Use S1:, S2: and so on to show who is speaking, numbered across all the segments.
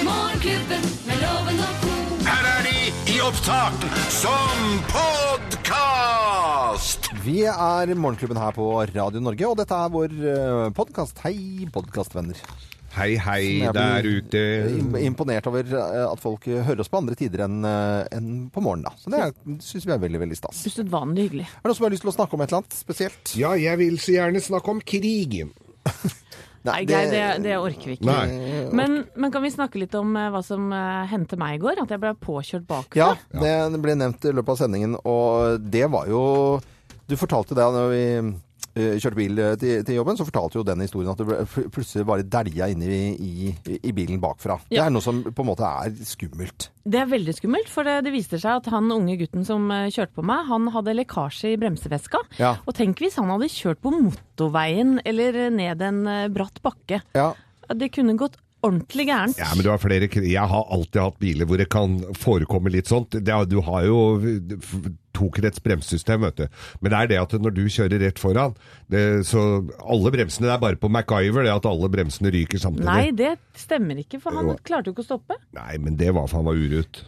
S1: Morgenklubben med loven og ko.
S2: Her er de i opptak som podkast!
S3: Vi er Morgenklubben her på Radio Norge, og dette er vår podkast. Hei, podkastvenner.
S4: Hei, hei
S3: Jeg
S4: der
S3: blir-
S4: ute.
S3: Im- Imponert over eh, at folk eh, hører oss på andre tider enn eh, enn på morgenen. da. Så det syns vi er veldig veldig stas. Er
S5: Usedvanlig hyggelig.
S3: det noen som har lyst til å snakke om et eller annet spesielt?
S4: Ja, jeg vil så gjerne snakke om krigen.
S5: Nei, Geir, det, Eh, det orker vi ikke.
S4: Nei.
S5: Men, men kan vi snakke litt om eh, hva som eh, hendte meg i går? At jeg ble påkjørt bakfra?
S3: Ja, det ble nevnt i løpet av sendingen, og det var jo Du fortalte det når vi eh, kjørte bil eh, til, til jobben, så fortalte jo den historien at du ble pl- plutselig bare dælja inn i, i, i bilen bakfra. Det
S5: Ja.
S3: er noe som på en måte er skummelt.
S5: Det er veldig skummelt, for eh, det, det viste seg at han unge gutten som eh, kjørte på meg, han hadde lekkasje i bremseveska.
S3: Ja.
S5: Og tenk hvis han hadde kjørt på motorveien eller ned en eh, bratt bakke.
S3: Ja,
S5: Det kunne gått ordentlig gærent.
S4: Ja, men du har flere krig. Jeg har alltid hatt biler hvor det kan forekomme litt sånt. Det, er- du har jo f- tokrets bremsesystem, vet du. Men det er det at når du kjører rett foran, det, så alle bremsene Det er bare på MacGyver det at alle bremsene ryker samtidig.
S5: Nei, det stemmer ikke, for han
S4: Jo.
S5: klarte jo ikke å stoppe.
S4: Nei, men det var for han var urut.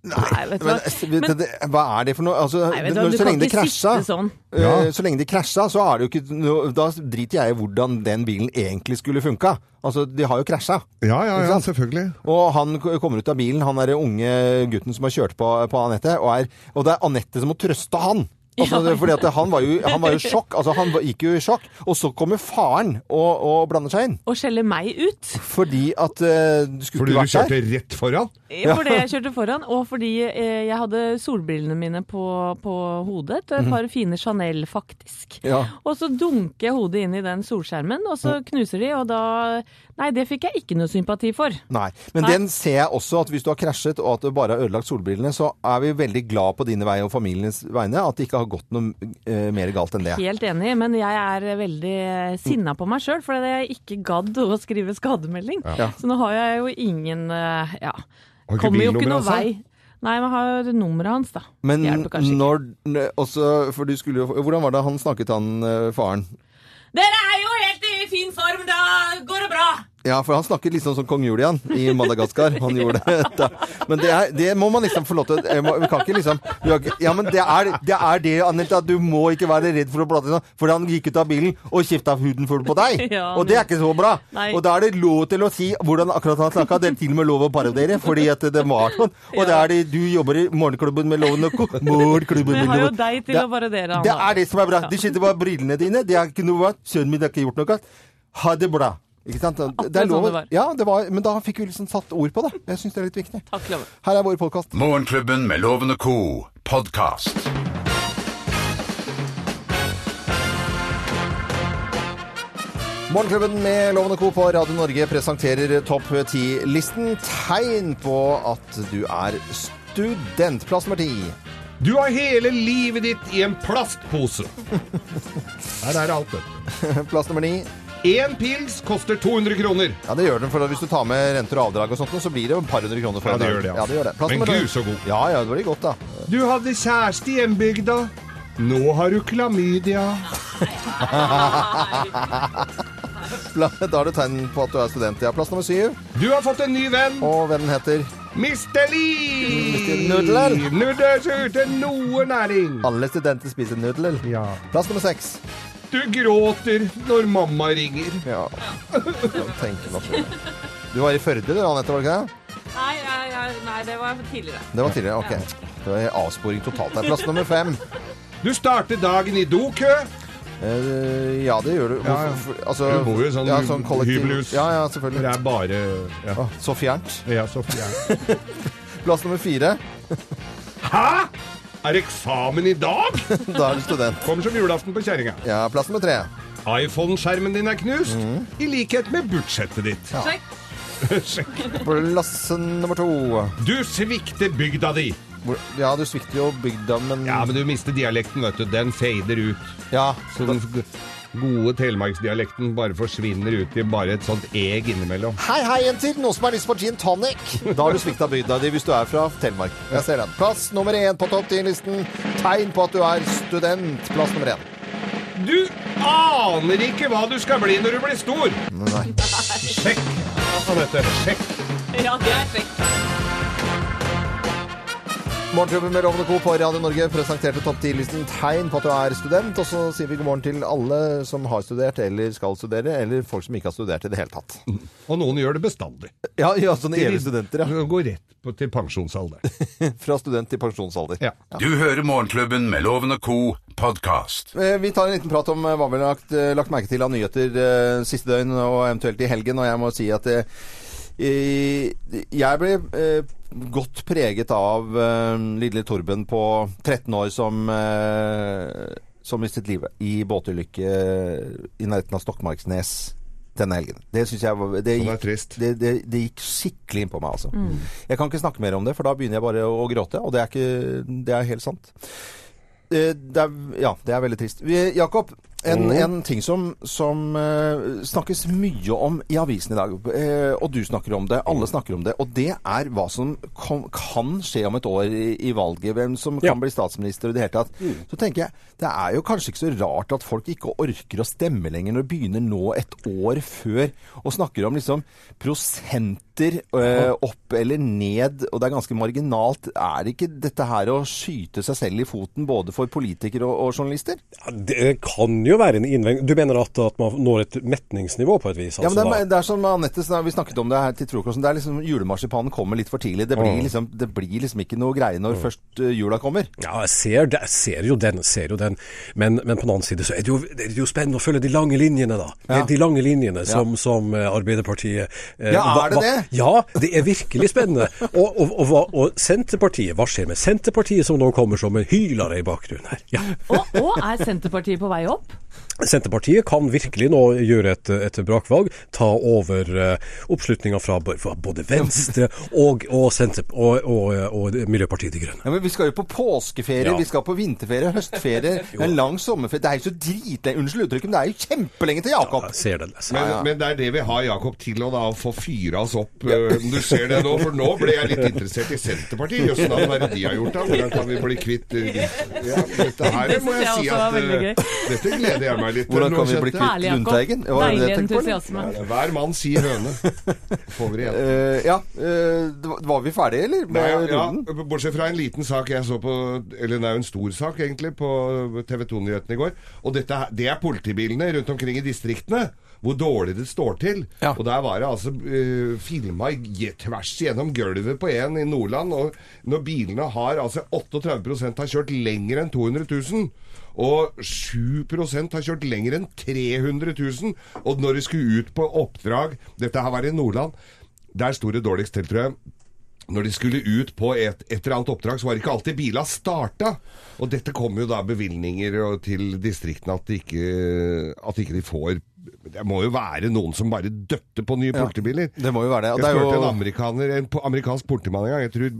S5: Nei, vet du hva.
S3: Men, vet du, hva er det for noe? Altså,
S5: Nei, vet du
S3: når-
S5: hva, du
S3: så,
S5: kan
S3: lenge det
S5: ikke
S3: krasja,
S5: sitte sånn.
S3: øh, så lenge det krasja, så er det jo ikke noe Da driter jeg i hvordan den bilen egentlig skulle funka. Altså, de har jo krasja.
S4: Ja, ja, ja,
S3: Ikke sant?
S4: selvfølgelig.
S3: Og han k- kommer ut av bilen, han derre unge gutten som har kjørt på, på Anette, og, er- og det er Anette som må trøste han. Altså, det- fordi at han var jo han var jo i sjokk. Altså, han var- gikk jo i sjokk. Og så kommer faren og, og blander seg inn.
S5: Og skjelle meg ut.
S3: Fordi at øh, du skulle
S4: Fordi du
S3: ikke vært der.
S4: kjørte rett foran?
S5: Fordi jeg kjørte foran, og fordi eh, jeg hadde solbrillene mine på, på hodet. Et
S4: Mhm.
S5: par fine Chanel, faktisk.
S3: Ja.
S5: Og så dunker jeg hodet inn i den solskjermen,
S4: Mhm.
S5: og så knuser de, og da Nei, det fikk jeg ikke noe sympati for.
S3: Nei, men
S5: Nei.
S3: den ser jeg også at hvis du har krasjet og at du bare har ødelagt solbrillene, så er vi veldig glad på dine vei og familiens vegne at det ikke har gått noe eh, mer galt enn det.
S5: Helt enig, men jeg er veldig eh, sinna på meg sjøl fordi jeg ikke gadd å skrive skademelding. Så nå har jeg jo ingen eh, Ja.
S4: Har ikke
S5: Kommer jo ikke
S4: bilnummeret
S5: noe
S4: hans, da?
S5: vei. Nei, men har nummeret hans, da.
S3: Men
S5: Det hjelper kanskje ikke.
S3: når n- også, for du skulle jo, Hvordan var det han snakket, han eh, faren?
S5: Dere er jo helt i fin form, da går det bra!
S3: Ja, for han snakket liksom som kong Julian i Madagaskar. Han gjorde det. Da. Men det, er, det må man liksom få lov til. eh, må- Vi kan ikke liksom vi har ikke- Ja, men det er det, er det Anette, at du må ikke være redd for å blande deg For han gikk ut av bilen og skifta huden full på deg.
S5: Ja,
S3: Og det er ikke så bra.
S5: Nei.
S3: Og da er det lov til å si hvordan akkurat han snakka. Det er til og med lov å parodiere, fordi at det var sånn. Og det er det du jobber i Morgenklubben med Loven og Co. Morgenklubben
S5: Men
S3: med
S5: jeg har jo
S3: Loven.
S5: deg til
S3: Det-
S5: å parodiere,
S3: Det
S5: Anna.
S3: er det som er bra. De sitter bare brillene dine. Det er ikke noe galt. Sønnen min har ikke gjort noe galt. Ha det bra. Ikke sant? Det er
S5: Akkurat sånn
S3: lov.
S5: det var.
S3: Ja, det var, men da fikk vi liksom satt ord på det. Jeg syns det er litt viktig.
S5: Takk, Loven.
S3: Her er vår podkast.
S2: Morgenklubben med Loven og co. podkast.
S3: Morgenklubben med Loven og Co. på Radio Norge presenterer Topp 10-listen. Tegn på at du er student. Plass nummer ti.
S4: Du har hele livet ditt i en plastpose. Der er det alt, vet du.
S3: Plass nummer ni.
S4: Én pils koster 200 kroner.
S3: Ja, det gjør den, for hvis du tar med renter og avdrag og sånt, så blir det jo et par hundre kroner
S4: Ja,
S3: for en
S4: det
S3: øl.
S4: gjør det, altså.
S3: Ja, det gjør det. Plass
S4: Men
S3: nummer ni.
S4: gud, så god.
S3: Ja, ja, det blir godt, da.
S4: Du hadde kjæreste i hjembygda. Nå har du klamydia.
S3: Pla- Da er det tegn på at du er student. Ja, plass nummer syv.
S4: Du har fått en ny venn.
S3: Og vennen heter
S4: Mr. Lee.
S3: Mr. Nudler.
S4: Nudler som uten noe næring.
S3: Alle studenter spiser nudler.
S4: Ja.
S3: Plass nummer seks.
S4: Du gråter når mamma ringer.
S3: Ja. Jeg tenker nok det. Du var i Førde, du, Anette, var det ikke det?
S5: Nei, nei, nei, nei, det var tidligere.
S3: Det var tidligere, ok. Det var avsporing totalt her. Plass nummer fem.
S4: Du starter dagen i dokø.
S3: Eh, ja, det gjør du.
S4: Ja, ja.
S3: Hvorfor- altså,
S4: Du bor jo i sånn
S3: kollektiv-
S4: hybelhus.
S3: Ja, ja,
S4: Det
S3: selvfølgelig.
S4: er bare Ja,
S3: Å, så fjernt.
S4: ja så fjern.
S3: Plass nummer fire.
S4: Hæ? Er eksamen i dag?
S3: Da er du student.
S4: Kommer som julaften på kjerringa.
S3: Ja, plass nummer tre. Mm.
S4: iPhone-skjermen din er knust, i likhet med budsjettet ditt.
S5: Sjekk.
S4: Sjekk.
S3: Plass nummer to.
S4: Du svikter bygda di.
S3: Hvor, ja, du svikter jo bygda, men
S4: Ja, men du mister dialekten, vet du. Den fader ut.
S3: Ja,
S4: Så den g- gode telemarksdialekten bare forsvinner ut i bare et sånt eg innimellom.
S3: Hei, hei, jenter! Noen som har lyst på gin tonic? Da har du svikta bygda di hvis du er fra Telemark. Jeg ser den. Plass nummer én på topp 10-listen. Tegn på at du er student. Plass nummer én.
S4: Du aner ikke hva du skal bli når du blir stor!
S3: Nei.
S4: Sjekk! Altså, dette. Sjekk.
S5: Ja, det er kjekt.
S3: Morgenklubben med Lovende Co. på Radio Norge presenterte topp 10-listen tegn på at du er student. Og så sier vi god morgen til alle som har studert eller skal studere, eller folk som ikke har studert i det hele tatt.
S4: Og noen gjør det bestandig.
S3: Ja, ja altså, sånne evige studenter, ja.
S4: Går rett på, til pensjonsalder.
S3: Fra student til pensjonsalder.
S4: Ja.
S2: Du hører Morgenklubben med Loven og Co. podcast.
S3: Eh, Vi tar en liten prat om eh, hva vi har lagt, eh, lagt merke til av nyheter eh, siste døgn og eventuelt i helgen. Og jeg må si at eh, i- jeg ble eh, godt preget av eh, lille Torben på 13 år som eh, som mistet livet i båtulykke eh, i nærheten av Stokmarknes denne helgen. Det syns jeg var det
S4: Sånn er
S3: gikk,
S4: trist.
S3: det, det, det gikk skikkelig inn på meg, altså. Jeg kan ikke snakke mer om det, for da begynner jeg bare å, å gråte, og det er, ikke, det er helt sant. Eh, Det er, ja, det er veldig trist. Vi- Jakob, en, en ting som, som eh, snakkes mye om i avisen i dag, eh, og du snakker om det, alle snakker om det, og det er hva som kom, kan skje om et år i, i valget, hvem som
S6: Ja.
S3: kan bli statsminister og i det hele tatt. Så tenker jeg, det er jo kanskje ikke så rart at folk ikke orker å stemme lenger når det begynner nå et år før, og snakker om liksom prosenter eh, opp eller ned, og det er ganske marginalt. Er det ikke dette her å skyte seg selv i foten både for politikere og, og journalister?
S6: Ja, Det kan jo være en innvending. Du mener at, at man når et metningsnivå på et vis?
S3: Ja, men
S6: altså,
S3: det, er,
S6: da?
S3: det er som Anette snak- vi snakket om det her til frokosten. Det er liksom Julemarsipanen kommer litt for tidlig. Det
S6: Mm.
S3: blir liksom, det blir liksom ikke noe greie når først eh, jula kommer.
S6: ja, jeg ser, det- jeg ser jo den, jeg ser jo den. Men, men på den annen side så er det, jo, det er jo spennende å følge de lange linjene, da.
S3: Ja.
S6: De, de lange linjene som, som eh, Arbeiderpartiet eh,
S3: Ja, er
S6: hva-
S3: det
S6: hva-
S3: det?
S6: Ja, det er virkelig spennende. og, og, og, hva- og Senterpartiet, hva skjer med Senterpartiet som nå kommer som en hylere i bakgrunnen her? Ja.
S5: Og, og er Senterpartiet på vei opp?
S6: Senterpartiet kan virkelig nå gjøre et, et brakvalg, ta over eh, oppslutninga fra, b- fra både Venstre og, og, Senter, og, og, og Miljøpartiet De Grønne.
S3: Ja, men Vi skal jo på påskeferie,
S6: Ja.
S3: vi skal på vinterferie, høstferie, en lang sommerferie. Det er jo så dritlenge Unnskyld uttrykket, men det er jo kjempelenge til Jakob.
S6: Jeg ser det. altså. Jeg ser
S4: Men,
S6: det.
S4: men det er det vi har, Jakob, til å da få fyre oss opp. eh, om Du ser det nå, for nå ble jeg litt interessert i Senterpartiet. Jøss, hva er det de har gjort da? Hvordan kan vi bli kvitt eh, ja, Dette her
S5: Det
S4: må
S5: synes
S4: jeg
S5: jeg
S4: si
S5: også var
S4: at eh,
S5: veldig
S4: Dette gleder jeg meg litt til.
S3: Hvordan
S4: Nå
S3: kan vi
S4: skjønte
S3: bli
S4: jeg.
S3: kvitt
S5: Herlig, Jakob.
S3: Lundteigen? Var det det
S5: Deilig
S3: jeg tenkte på, eller?
S5: entusiasme.
S4: Hver mann si høne. Over igjen.
S3: Eh, ja, eh, det var- var vi ferdige, eller? Med
S4: Nei, ja,
S3: runden?
S4: bortsett fra en liten sak jeg så på Eller det er jo en stor sak, egentlig, på TV 2-nyhetene i går. Og dette, her- det er politibilene rundt omkring i distriktene. Hvor dårlig det står til.
S3: Ja.
S4: Og der var det altså uh, filma je- tvers gjennom gulvet på en i Nordland. Og når bilene har altså 38 har kjørt lenger enn 200 000. Og 7 har kjørt lenger enn 300 000. Og når de skulle ut på oppdrag Dette her var i Nordland. Der sto det dårligst til, tror jeg. Når de skulle ut på et, et eller annet oppdrag, så var ikke alltid bila starta. Og dette kom jo da bevilgninger og- til distriktene at de ikke, at ikke de får Det må jo være noen som bare døtter på nye politibiler.
S3: det må jo være det, og
S4: Jeg
S3: det er
S4: spurte
S3: jo-
S4: en amerikaner, en po- amerikansk politimann en gang. Jeg tror,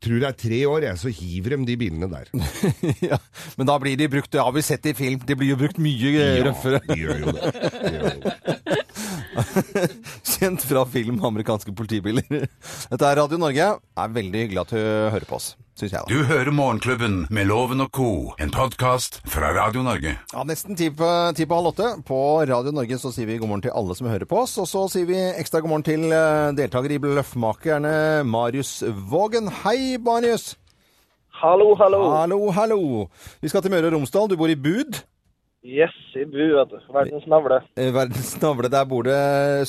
S4: tror det er tre år, jeg, så hiver dem de bilene der.
S3: ja. Men da blir de brukt, det har vi sett i film, de blir jo brukt mye eh, røffere.
S4: de gjør jo det. De gjør jo det.
S3: Kjent fra film amerikanske politibiler. Dette er Radio Norge. Det er veldig hyggelig at du hører på oss, syns jeg. da.
S2: Du hører Morgenklubben med Loven og Co. En podcast fra Radio Norge.
S3: Ja, Nesten ti på, ti på halv åtte. På Radio Norge så sier vi god morgen til alle som hører på oss. Og så sier vi ekstra god morgen til eh, deltaker i Bløffmakerne, Marius Vågen. Hei, Marius!
S7: Hallo, hallo.
S3: Hallo, hallo. Vi skal til Møre og Romsdal. Du bor i Bud.
S7: Yes, i bu, vet du. Verdens navle.
S3: Eh, Verdens navle. Der bor det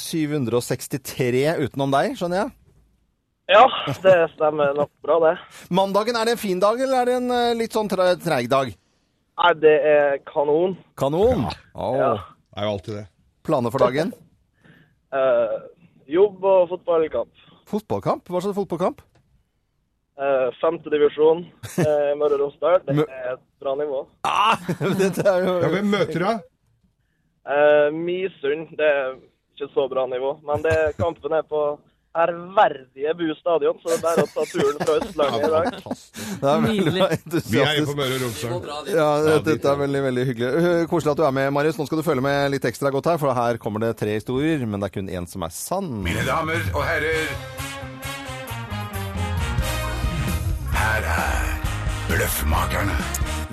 S3: 763 utenom deg, skjønner jeg.
S7: Ja, det stemmer nok bra, det.
S3: Mandagen, er det en fin dag, eller er det en eh, litt sånn tre- treig dag?
S7: Nei, det er kanon.
S3: Kanon! Åh,
S7: Ja.
S4: Det er jo alltid det.
S3: Planer for dagen?
S7: Eh, jobb og fotballkamp.
S3: Fotballkamp? Hva slags fotballkamp?
S7: Uh, Femtedivisjon uh, i Møre og Romsdal. Det er et bra nivå.
S3: Dette Ah, er jo
S4: Ja, Hvem møter da?
S7: Eh, Misund, det er ikke så bra nivå. Men det, kampen er på ærverdige Bu stadion, så det er bare å ta turen fra Østlandet i dag.
S3: Det er veldig
S5: Nydelig.
S4: Vi er jo
S3: entusiastisk.
S4: på Møre og Romsdal.
S3: Ja,
S4: Ja, dit,
S3: dette
S4: ja.
S3: er veldig, veldig hyggelig. Uh, Koselig at du er med, Marius. Nå skal du følge med litt ekstra godt her, for her kommer det tre historier, men det er kun én som er sann.
S2: Mine damer og herrer, her er Bløffmakerne.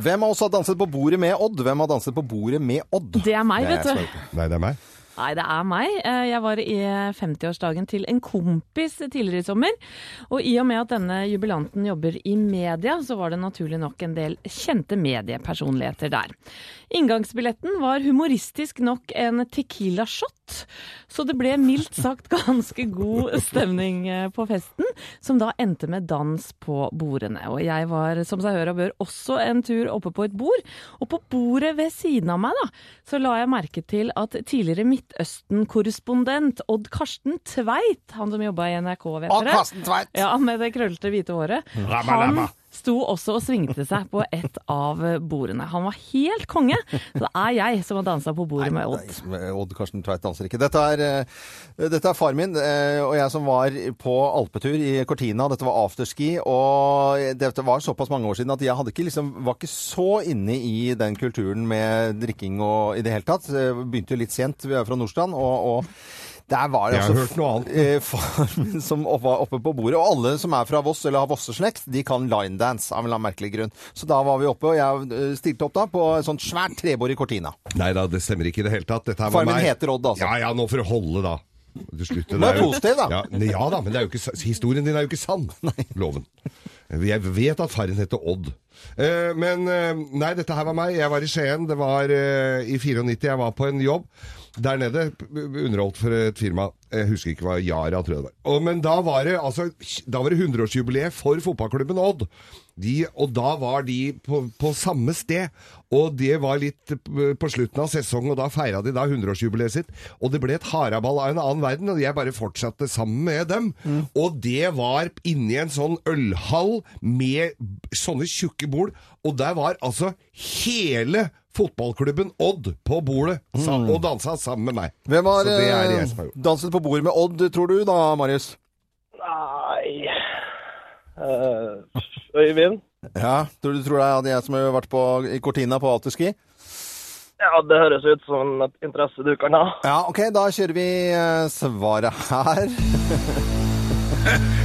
S3: Hvem av oss har danset på bordet med Odd? Hvem har danset på bordet med Odd?
S5: Det er meg,
S3: Det er
S5: vet
S3: jeg
S5: du.
S3: som er-
S4: Nei, det er meg.
S5: Nei, det er meg. Eh, Jeg var i 50-årsdagen til en kompis tidligere i sommer. Og i og med at denne jubilanten jobber i media, så var det naturlig nok en del kjente mediepersonligheter der. Inngangsbilletten var humoristisk nok en tequila shot, så det ble mildt sagt ganske god stemning eh, på festen, som da endte med dans på bordene. Og jeg var, som seg hør og bør, også en tur oppe på et bord, og på bordet ved siden av meg da, så la jeg merke til at tidligere Midtøsten-korrespondent Odd Karsten Tveit, han som jobba i NRK, vet
S3: Odd
S5: dere?
S3: Karsten Tveit!
S5: Ja, med det krøllete hvite håret.
S4: Rabba, rabba.
S5: Han sto også og svingte seg på et av bordene. Han var helt konge. Så det er jeg som har dansa på bordet med Odd.
S3: Nei, eh, Odd Karsten Tveit danser ikke. Dette er, eh, dette er far min eh, og jeg som var på alpetur i Cortina. Dette var afterski, og dette var såpass mange år siden at jeg hadde ikke liksom, var ikke så inne i den kulturen med drikking og i det hele tatt. Eh, Begynte jo litt sent, vi er fra Nordstrand, og, og der var det
S4: Jeg har
S3: altså
S4: hørt noe annet.
S3: eh, far min som opp- var oppe på bordet. Og alle som er fra Voss eller har Vosseslekt, de kan linedance av en eller annen merkelig grunn. Så da var vi oppe, og jeg eh, stilte opp da på et sånt svært trebord i Cortina.
S4: Nei da, det stemmer ikke i det hele tatt. Dette her var
S3: Faren min
S4: meg.
S3: heter Odd, altså.
S4: Ja ja, nå får du holde, da. Du slutter.
S3: Men
S4: det er jo-
S3: positiv, da.
S4: Ja, ne- ja da, men det er jo ikke, sa- historien din er jo ikke sann. Loven. Jeg vet at faren heter Odd. Eh, men eh, nei, dette her var meg. Jeg var i Skien. Det var eh, i 94. Jeg var på en jobb der nede. p- Underholdt for et firma. Jeg husker ikke hva Yara, tror jeg det var. Og, men da var det, altså, da var det 100-årsjubileet for fotballklubben Odd. De, og da var de på, på samme sted. Og det var litt p- på slutten av sesongen, og da feira de da 100-årsjubileet sitt. Og det ble et haraball av en annen verden, og jeg bare fortsatte sammen med dem.
S3: Mm.
S4: Og det var inni en sånn ølhall med b- sånne tjukke bord, og der var altså hele fotballklubben Odd på bordet sa, og dansa sammen med meg.
S3: Mm. Hvem har,
S4: Så det er
S3: eh,
S4: jeg som har gjort.
S3: danset på bordet med Odd, tror du da, Marius?
S7: Nei Eh, Øyvind?
S3: Ja. Tror du tror det er jeg som har vært på, i Cortina på afterski?
S7: Ja, det høres ut som et interesse du kan ha.
S3: Ja, OK, da kjører vi eh, svaret her.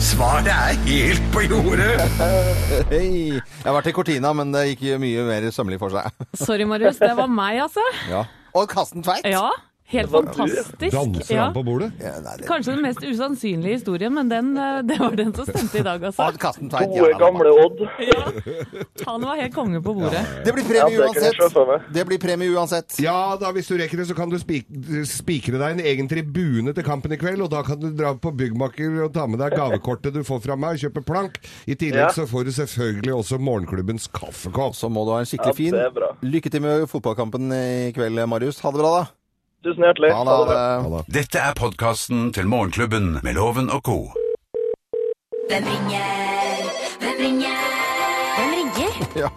S2: Svaret er helt på jordet!
S3: Hei. Jeg har vært i Cortina, men det gikk jo mye mer sømmelig for seg.
S5: Sorry, Marius. Det var meg, altså.
S3: Ja. Og Karsten Tveit.
S5: Ja. Helt
S7: var du.
S5: fantastisk.
S4: Danser
S5: Ja.
S4: han på bordet?
S3: Ja, nei, det-
S5: Kanskje den mest usannsynlige historien, men den, eh, det var den som stemte i dag, altså.
S3: Odd Karsten Tveit.
S7: Gode,
S3: ja,
S7: gamle Odd.
S5: Han var helt konge på bordet.
S3: Det blir
S7: Ja,
S3: premie
S7: det kan jeg se
S3: uansett.
S7: for meg.
S3: Det blir premie uansett.
S4: Ja da, hvis du rekker det, så kan du spik spikre deg en egen tribune til kampen i kveld, og da kan du dra på byggmaker og ta med deg gavekortet du får fra meg, og kjøpe plank. I tillegg
S7: Ja.
S4: så får du selvfølgelig også morgenklubbens kaffekopp.
S3: Så må du ha en skikkelig fin.
S7: Ja, det er bra.
S3: Lykke til med fotballkampen i kveld, Marius. Ha det bra, da.
S7: Tusen hjertelig.
S3: Ha det. Ha det.
S4: Ja da.
S2: Dette er podkasten til Morgenklubben med Loven og co.
S1: Hvem ringer? Hvem ringer? Hvem ringer?
S3: Ja.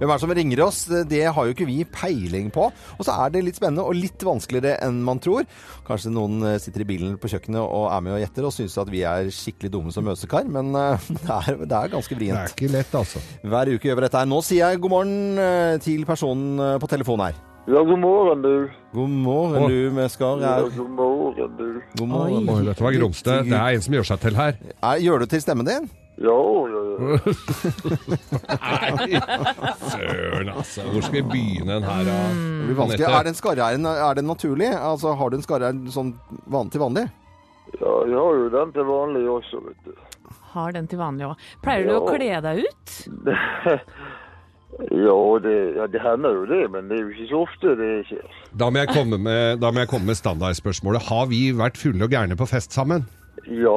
S3: Hvem er det som ringer oss? Det har jo ikke vi peiling på. Og så er det litt spennende og litt vanskeligere enn man tror. Kanskje noen eh, sitter i bilen på kjøkkenet og er med og gjetter og syns at vi er skikkelig dumme som møsekar, men eh, det er, det er ganske
S4: Det er
S3: vrient.
S4: ikke lett, altså.
S3: Hver uke gjør vi dette her. Nå sier jeg god morgen eh, til personen eh, på telefonen her.
S8: Ja, god morgen, du.
S3: God morgen,
S4: Å.
S3: du med skar.
S8: Ja,
S3: Er,
S8: god morgen, du.
S3: god morgen.
S4: Oi, dette var grumsete. Det er en som gjør seg til her.
S3: Er, gjør du til stemmen din?
S8: Ja, ja, ja.
S4: Nei, søren altså. Hvor skal vi begynne den her, da?
S3: Det blir vanskelig. Er den skarre-r-en er den naturlig? Altså, har du en skarre-r sånn van til vanlig?
S8: Ja, jeg har jo den til vanlig også, vet du.
S5: Har den til vanlig òg. Pleier du å kle deg ut?
S8: Ja, det, ja, det hender jo det, men det er jo ikke så ofte det skjer.
S4: Da må jeg komme med, da må jeg komme med standardspørsmålet. Har vi vært fulle og gærne på fest sammen?
S8: Ja,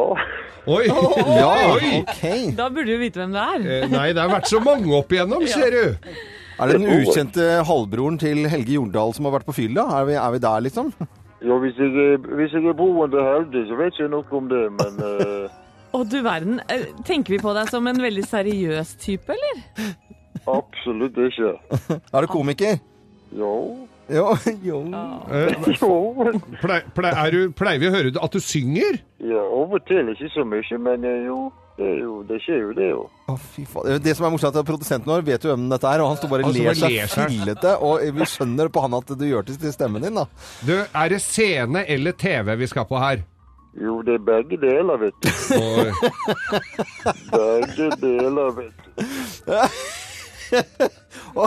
S4: Oi!
S3: Ja,
S4: Oi!
S3: OK.
S5: Da burde du vite hvem det er.
S4: Eh, Nei, det har vært så mange opp igjennom, ser du.
S3: Er det den ukjente halvbroren til Helge Jordal som har vært på fylla? Er, vi- er vi der, liksom?
S8: ja hvis, jeg er, hvis jeg er boende heldig, så vet jeg nok om det, men eh,
S5: Å du verden. Eh, Tenker vi på deg som en veldig seriøs type, eller?
S8: absolutt ikke.
S3: Er du komiker?
S8: Ja,
S3: Jo. jo.
S4: Eh,
S8: ja.
S4: Plei, plei, er du, pleier vi å høre at du synger?
S8: ja av og til ikke så mye, men eh, jo, det, er jo, det skjer jo det, jo.
S3: Å, fy faen. Det som er morsomt, er at produsenten vår vet jo hvem dette er, og han står bare og
S4: Han står
S3: ler
S4: bare og
S3: seg
S4: ler seg.
S3: fillete. Og vi skjønner på han at du gjør det til stemmen din, da. Eh,
S4: Du, er det scene eller TV vi skal på her?
S8: Jo, det er begge deler, vet du.
S4: Og,
S8: Begge deler, vet du.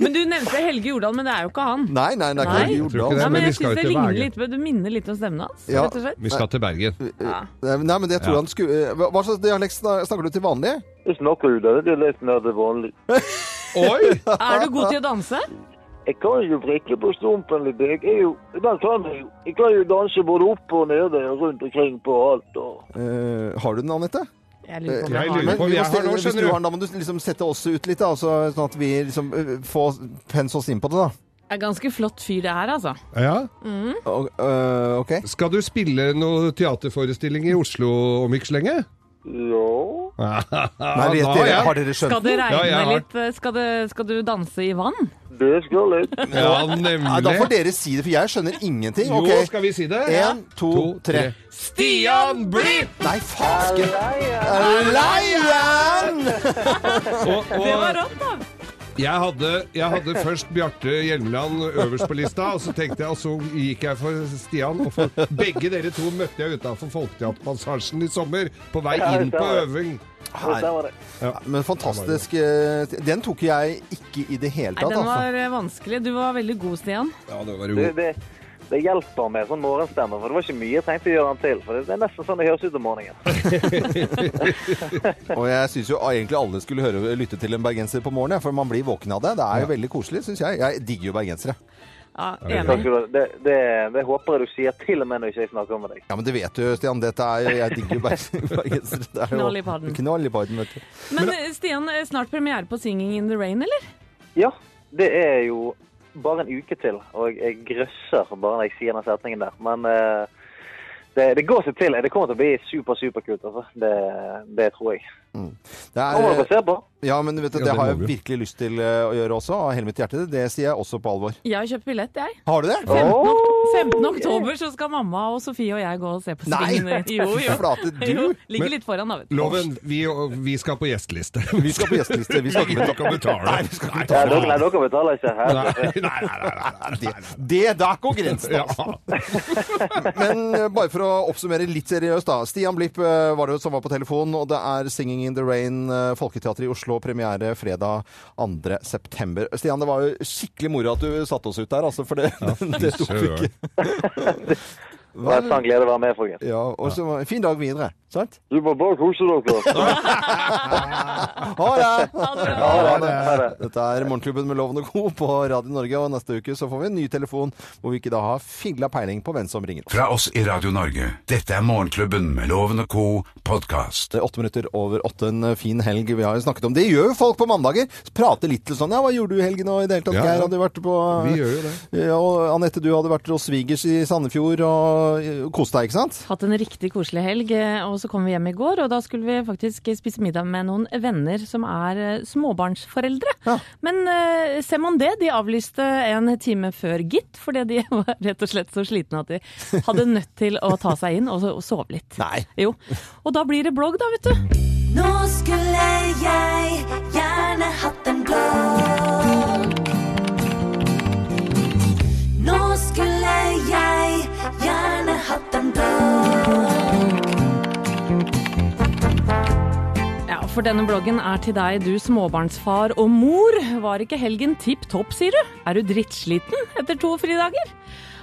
S5: Men du nevnte Helge Jordal, men det er jo ikke han.
S3: Nei, nei, det er
S5: Nei.
S3: ikke
S4: tror
S5: Jeg
S4: ikke
S3: Jordal.
S4: det.
S5: Nei,
S4: men
S5: men
S4: vi
S5: jeg
S4: skal
S5: synes
S4: jo
S5: det
S4: til
S5: ligner
S4: Bergen.
S5: litt, på- Du minner litt om stemmen hans,
S3: Ja.
S5: rett og slett.
S4: Vi skal til Bergen.
S5: Ja.
S3: Nei, men jeg tror
S4: Ja.
S3: han skulle eh, Hva hva slags dialekt sna- snakker du til vanlig?
S8: Jeg snakker jo det. Det er litt nær det vanlige.
S4: Oi!
S5: Er du god til å danse?
S8: Jeg kan jo vrikke på stumpen litt. Jeg, er jo, den kan jeg, jo. jeg kan jo danse både opp og nede og rundt omkring på alt. Og.
S3: Eh, har du den, Anette?
S5: Jeg lurer på om
S4: Jeg
S5: jeg har
S4: lurer
S5: den.
S4: på-
S3: vi må
S4: jeg har
S3: se-
S4: nå,
S3: hvis
S4: skjønner
S3: du
S4: du.
S3: har den, da må du liksom sette oss ut litt, da, så, sånn at vi liksom eh, får pens oss inn på det, da.
S5: Det er ganske flott fyr det her, altså.
S4: Ja.
S3: Og, eh, OK?
S4: Skal du spille noen teaterforestilling i Oslo om ikke så lenge?
S8: Ja.
S3: Nei,
S4: Nei,
S3: vet dere, har dere
S5: Skal
S3: skjønt?
S5: det
S4: Ja, jeg
S5: regne
S4: har-
S5: litt? eh, Skal, det, skal du danse i vann?
S8: Det skal jeg.
S4: Ja,
S3: Nei, da får
S4: nemlig.
S3: dere si det, for jeg skjønner ingenting.
S4: Jo,
S3: OK?
S4: skal vi si det?
S3: Én, to, tre.
S4: Stian Blipp!
S3: Nei, faske! Leian!
S4: Og,
S5: Det var
S4: og
S5: rått, da!
S4: jeg, hadde, jeg hadde først Bjarte Hjelmeland øverst på lista, og så tenkte jeg, og så gikk jeg for Stian. Og for begge dere to møtte jeg utafor Folketeaterpassasjen i sommer, på vei inn på øving.
S3: Her.
S8: Der var det.
S3: Men fantastisk. eh, Den tok jeg ikke i det hele
S5: Nei,
S3: tatt,
S5: den
S3: altså.
S5: var eh, vanskelig. Du var veldig god, Stian.
S4: Ja, det var jo
S8: Det, det, det hjelper med sånn morgenstemme, for det var ikke mye jeg tenkte å gjøre den til. For det, det er nesten sånn det høres ut om morgenen.
S3: Og jeg syns jo egentlig alle skulle høre, lytte til en bergenser på morgenen, for man blir våken av det. Det er jo veldig koselig, syns jeg. Jeg digger jo bergensere.
S5: Ja,
S8: Takk
S5: enig.
S8: skal du ha. Det, det, det håper jeg du sier til og med når ikke jeg snakker med deg.
S3: Ja, men det vet du, Stian. Dette er jo Jeg digger jo berg- bergensere. Det er jo-
S5: Knall i padden.
S3: Knall i padden, vet du.
S5: Men eh, Stian, eh, snart premiere på 'Singing in the Rain', eller?
S8: Ja, det er jo bare en uke til, og jeg grøsser bare når jeg sier den setningen der. Men eh, det, det går seg til. Det kommer til å bli super, superkult, altså. Det, det tror jeg.
S3: Det er,
S8: Kommer dere og ser på?
S3: Ja, men vet du,
S4: Ja,
S3: det
S4: det
S3: har jeg
S4: må vi.
S3: virkelig lyst til eh, å gjøre også, av hele mitt hjerte. Det sier jeg også på alvor.
S5: Jeg har kjøpt billett, jeg.
S3: Har du det?
S5: 15. ok- 15.
S8: Åh!
S5: oktober så skal mamma og Sofie og jeg gå og se på
S3: Nei!
S5: svingene. Jo, jo.
S3: Flate
S5: jo.
S3: du!
S5: Ligger litt foran, da, vet du.
S4: Loven, vi, vi skal på gjesteliste.
S3: Vi skal på gjesteliste. Vi skal ikke betale. Nei, vi skal ikke
S8: Ja, dere,
S4: Nei,
S8: nei, dere betaler ikke. Her.
S4: nei, nei, nei, nei, nei.
S3: Det der går grensen,
S4: Ja.
S3: altså. Men eh, bare for å oppsummere litt seriøst, da. Stian Blipp eh, var det jo som var på telefon, og det er 'Singing in the Rain', eh, Folketeatret i Oslo, premiere fredag 2. september. Stian, det var jo skikkelig moro at du satte oss ut der, altså, for det, det, det tok vi ikke.
S8: Det var en sann glede å være med, folkens.
S3: Ja, og så fin dag videre. Sant?
S8: Du må bare kose dere.
S3: Ha det!
S5: Ha det bra.
S8: Ha det. Ha det.
S3: Dette er Morgenklubben med Loven og Co. på Radio Norge, og neste uke så får vi en ny telefon hvor vi ikke da har filla peiling på hvem som ringer.
S2: Fra oss i Radio Norge. Dette er Morgenklubben med Loven og co. podkast.
S3: Det er Åtte minutter over åtte, en eh, fin helg vi har jo snakket om. Det gjør jo folk på mandager. Prater litt til sånn Ja, hva gjorde du i helgen og i det hele tatt?
S4: Ja, ja.
S3: Geir hadde jo vært på
S4: Vi gjør jo det.
S3: Ja, og Anette, du hadde vært hos svigers i Sandefjord og eh, kost deg, ikke sant?
S5: Hatt en riktig koselig helg, eh, og så kom vi hjem i går, og da skulle vi faktisk spise middag med noen venner som er eh, småbarnsforeldre. Men eh, ser man det, de avlyste en time før gitt, fordi de var rett og slett så slitne at de hadde nødt til å ta seg inn og, so- og sove litt.
S3: Nei.
S5: Jo. Og da blir det blogg, da, vet du.
S1: Nå skulle jeg gjerne hatt en blogg. Nå skulle jeg gjerne hatt en blogg.
S5: Ja, For denne bloggen er til deg, du småbarnsfar og mor. Var ikke helgen tipp topp, sier du? Er du drittsliten etter to fridager?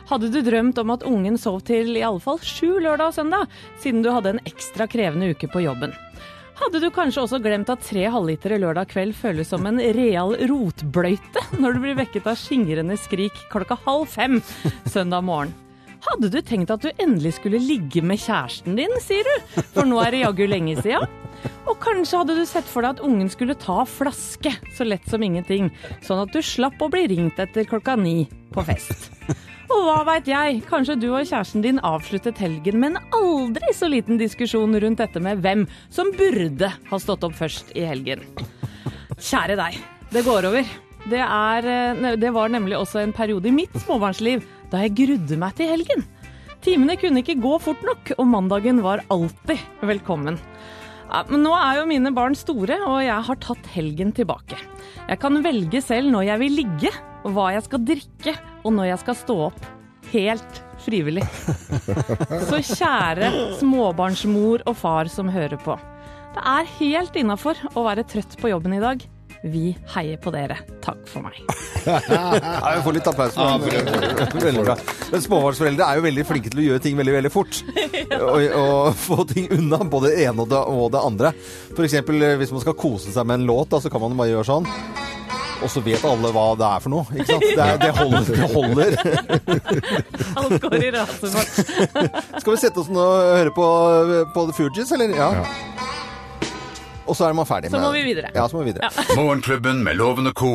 S5: Hadde du drømt om at ungen sov til i alle fall sju lørdag og søndag, siden du hadde en ekstra krevende uke på jobben? Hadde du kanskje også glemt at tre halvlitere lørdag kveld føles som en real rotbløyte når du blir vekket av skingrende skrik klokka halv fem søndag morgen? Hadde du tenkt at du endelig skulle ligge med kjæresten din, sier du, for nå er det jaggu lenge sia? Og kanskje hadde du sett for deg at ungen skulle ta flaske så lett som ingenting, sånn at du slapp å bli ringt etter klokka ni på fest. Og hva veit jeg, kanskje du og kjæresten din avsluttet helgen med en aldri så liten diskusjon rundt dette med hvem som burde ha stått opp først i helgen. Kjære deg, det går over. Det, er, eh, ne- det var nemlig også en periode i mitt småbarnsliv da jeg grudde meg til helgen. Timene kunne ikke gå fort nok, og mandagen var alltid velkommen. Ja, men nå er jo mine barn store, og jeg har tatt helgen tilbake. Jeg kan velge selv når jeg vil ligge, og hva jeg skal drikke, og når jeg skal stå opp. Helt frivillig. Så kjære småbarnsmor og far som hører på. Det er helt innafor å være trøtt på jobben i dag. Vi heier på dere. Takk for meg.
S3: Ja, vi får litt applaus for den. Veldig bra. Men småbarnsforeldre er jo veldig flinke til å gjøre ting veldig veldig fort. Og, og få ting unna, både det ene og det, og det andre. For eksempel eh, hvis man skal kose seg med en låt, da, så kan man bare gjøre sånn. Og så vet alle hva det er for noe. ikke sant? Det, er, det holder. Det holder.
S5: Alt går i rasefart.
S3: Skal vi sette oss ned og høre på, på The Fugees, eller? Ja. Og så er man ferdig
S5: Så
S3: med
S5: må vi videre.
S3: Ja, så må vi videre.
S2: Morgenklubben med Loven og Co.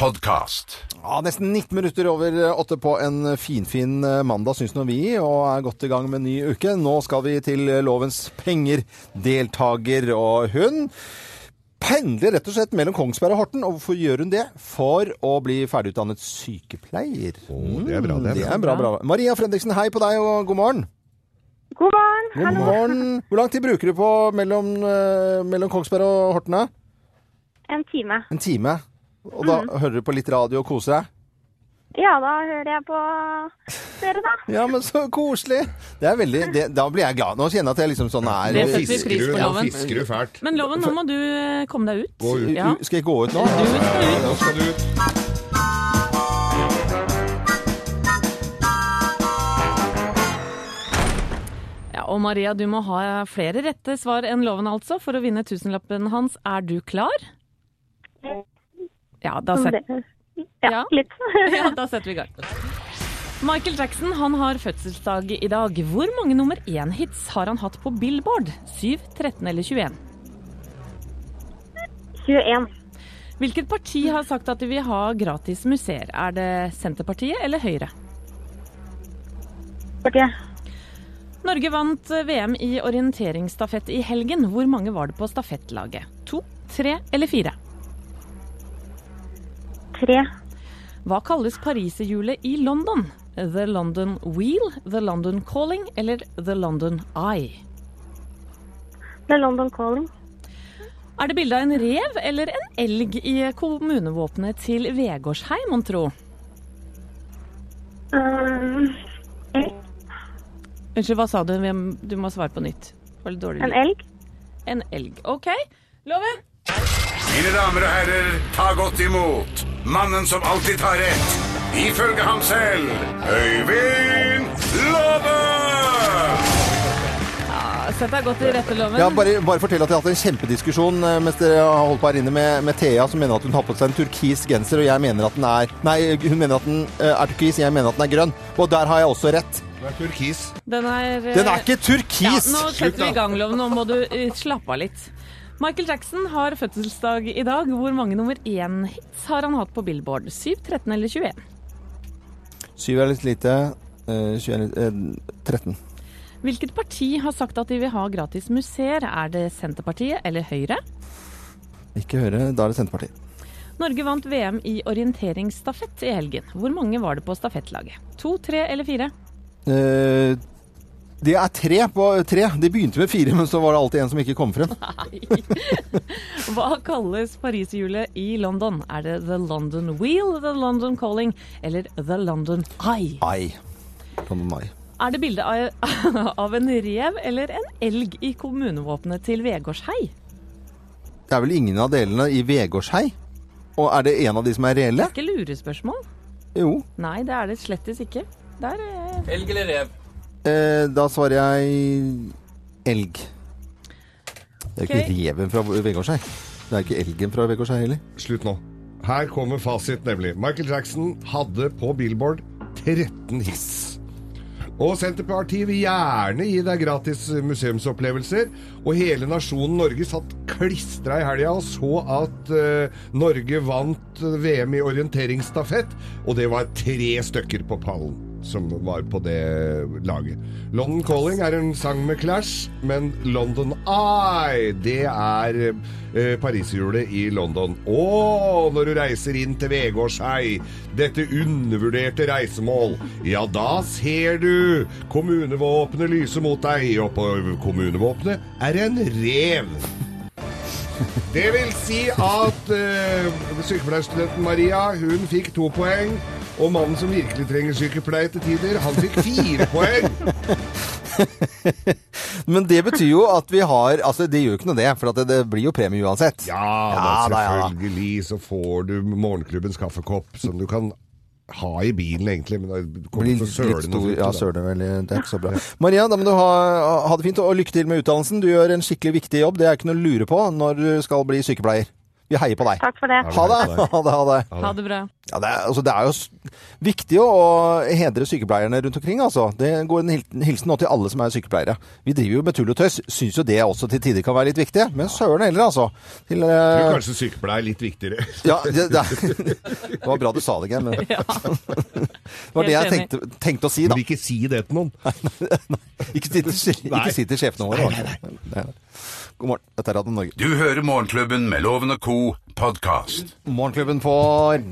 S2: Podcast.
S3: Ja, Nesten 19 minutter over åtte på en finfin mandag, syns nå vi, og er godt i gang med en ny uke. Nå skal vi til Lovens penger, deltaker og hun. Pendler rett og slett mellom Kongsberg og Horten. Og hvorfor gjør hun det? For å bli ferdigutdannet sykepleier. Mm,
S4: Å, det er bra, det.
S3: Det er bra, bra. Maria Fredriksen, hei på deg, og god morgen.
S9: God morgen.
S3: God morgen. Hvor lang tid bruker du på mellom, eh, mellom Kongsberg og Horten? da?
S9: En time.
S3: En time. Og
S9: Mm.
S3: da hører du på litt radio og koser deg?
S9: Ja, da hører jeg på dere, da.
S3: Ja, men så koselig. Det er veldig, det, da blir jeg glad. Nå kjenner jeg at jeg liksom sånn er
S5: Det
S4: Nå
S5: setter vi
S4: fisker
S5: pris
S4: du-
S5: på,
S4: nå
S5: Loven.
S4: fisker du fælt.
S5: Men Loven, nå må du eh, komme deg ut.
S4: Gå ut.
S5: Ja.
S3: Skal jeg gå ut nå?
S5: Du skal ut.
S4: Nå skal du
S5: Ja, og Maria, du må ha flere rette svar enn loven altså for å vinne tusenlappen hans. Er du klar? Ja, da, set
S9: Det-
S5: Ja.
S9: Ja, litt.
S5: ja, da setter vi i gang. Michael Jackson han har fødselsdag i dag. Hvor mange nummer én-hits har han hatt på Billboard? 7, 13 eller 21?
S9: 21.
S5: Hvilket parti har sagt at de vil ha gratis museer? Er det Senterpartiet eller Høyre?
S9: Partiet.
S5: Norge vant VM i orienteringsstafett i helgen. Hvor mange var det på stafettlaget? To, tre eller fire?
S9: Tre.
S5: Hva kalles pariserhjulet i London? The London Wheel, The London Calling eller The London Eye?
S9: Det er London Calling.
S5: Er det bilde av en rev eller en elg i kommunevåpenet til Vegårsheim, mon tro?
S9: Um,
S5: Unnskyld, hva sa du? Hvem- Du må svare på nytt. Det var litt dårlig.
S9: en
S5: lyd.
S9: elg.
S5: En elg. OK. Loven?
S2: Mine damer og herrer, ta godt imot mannen som alltid tar rett. Ifølge ham selv Øyvind Låve!
S5: Ja, Sett deg godt i rette, Loven.
S3: Ja, bare, bare fortell at jeg har hatt en kjempediskusjon eh, mens dere har holdt på her inne med, med Thea, som mener at hun har på seg en turkis genser, og jeg mener at den er Nei, hun mener at den eh, er turkis, jeg mener at den er grønn. Og der har jeg også rett.
S4: Du er turkis.
S5: Den er eh,
S3: Den er ikke
S5: Ja,
S3: turkis!
S5: nå setter vi i gang, Loven. Nå må du eh, slappe av litt. Michael Jackson har fødselsdag i dag. Hvor mange nummer én-hits har han hatt på Billboard? 7, 13 eller 21?
S3: Syv er litt lite. eh, 20 er litt eh, 13.
S5: Hvilket parti har sagt at de vil ha gratis museer? Er det Senterpartiet eller Høyre?
S3: Ikke høre. Da er det Senterpartiet.
S5: Norge vant VM i orienteringsstafett i helgen. Hvor mange var det på stafettlaget? To, tre eller fire?
S3: Eh, det er tre på tre. De begynte med fire, men så var det alltid en som ikke kom frem.
S5: Hva kalles pariserhjulet i London? Er det The London Wheel, The London Calling eller The London Eye?
S3: Ai. På meg.
S5: Er det bilde av, av en rev eller en elg i kommunevåpenet til Vegårshei?
S3: Det er vel ingen av delene i Vegårshei? Og er det en av de som er reelle?
S5: Ikke lurespørsmål?
S3: Jo.
S5: Nei, det er det slettes ikke. Der, eh,
S3: Eh, da svarer jeg elg. Det er jo ikke
S5: Ok.
S3: reven fra Vegårshei. Det er ikke elgen fra Vegårshei heller.
S4: Slutt nå. Her kommer fasit, nemlig. Michael Jackson hadde på Billboard 13 hits. Og Senterpartiet vil gjerne gi deg gratis museumsopplevelser. Og hele nasjonen Norge satt klistra i helga og så at eh, Norge vant VM i orienteringsstafett. Og det var tre stykker på pallen som var på det eh, laget. London Calling er en sang med Clash, men London Eye, det er eh, pariserhjulet i London. Å, når du reiser inn til Vegårshei, dette undervurderte reisemål, ja, da ser du kommunevåpenet lyse mot deg, og på kommunevåpenet er en rev. Det vil si at eh, sykepleierstudenten Maria hun fikk to poeng. Og mannen som virkelig trenger sykepleie til tider, han fikk fire poeng.
S3: Men det betyr jo at vi har Altså, det gjør jo ikke noe det, for at det, det blir jo premie uansett.
S4: Ja,
S3: Ja,
S4: da,
S3: da, ja, da.
S4: selvfølgelig så får du morgenklubbens kaffekopp, som du kan ha i bilen egentlig, men du kommer
S3: Blir
S4: til å
S3: litt
S4: søle noe
S3: stor,
S4: fint,
S3: ja,
S4: da.
S3: søler veldig. Det er ikke så bra. Maria, da må du ha, ha det fint, og lykke til med utdannelsen. Du gjør en skikkelig viktig jobb. Det er ikke noe å lure på når du skal bli sykepleier. Vi heier på deg.
S9: Takk for det.
S3: Ha det! Ha det, ha det.
S5: Ha det bra.
S3: Ja, det, er, altså, det er jo s- viktig å hedre sykepleierne rundt omkring, altså. Det går en hil- hilsen nå til alle som er sykepleiere. Vi driver jo med tull og tøys. Syns jo det også til tider kan være litt viktig, men søren heller, altså. Til,
S4: Du
S3: eh,
S4: er kanskje sykepleier litt viktigere.
S3: ja, det, det, det var bra du sa det, Geir, men det
S5: Ja.
S3: var det jeg
S5: Helt enig.
S3: tenkte, tenkte å si, da.
S4: Men ikke si det til noen.
S3: Ikke si til, ikke si til sjefene våre. altså. Nei, nei. God morgen. Dette er Radio Norge.
S2: Du hører Morgenklubben med Loven og Co. podkast.
S3: Morgenklubben på